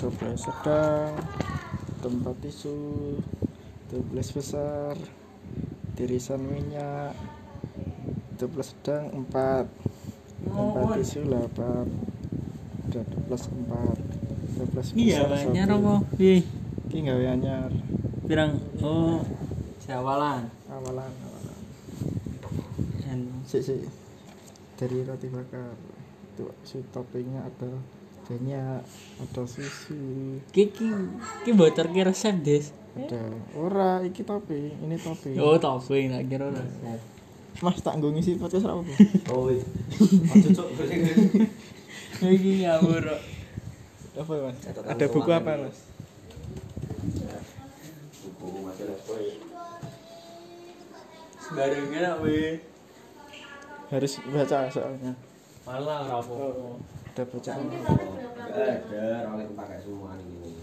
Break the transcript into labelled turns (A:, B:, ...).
A: toples sedang tempat tisu toples besar tirisan minyak toples sedang 4 tempat tisu 8 dan toples 4 toples
B: iya
A: besar
B: banyak
A: satu.
B: apa iya
A: Ki gawe anyar
B: pirang oh siawalan
A: awalan awalan
B: dan
A: sik sik dari roti bakar itu si toppingnya ada banyak ada susu
B: kiki ki bocor ki resep des
A: ada ora iki topping ini topping
B: oh topping tak kira resep
A: mas tak nggo ngisi podcast ra apa
C: Oh, wis. Aja cok.
B: iki ngawur Rok.
A: apa mas ada buku apa mas
C: Buku majalah kowe.
B: sembarang enak we
A: harus baca soalnya
B: malah rapo
A: ada bacaan
C: Enggak ada, orang yang pakai semua ini.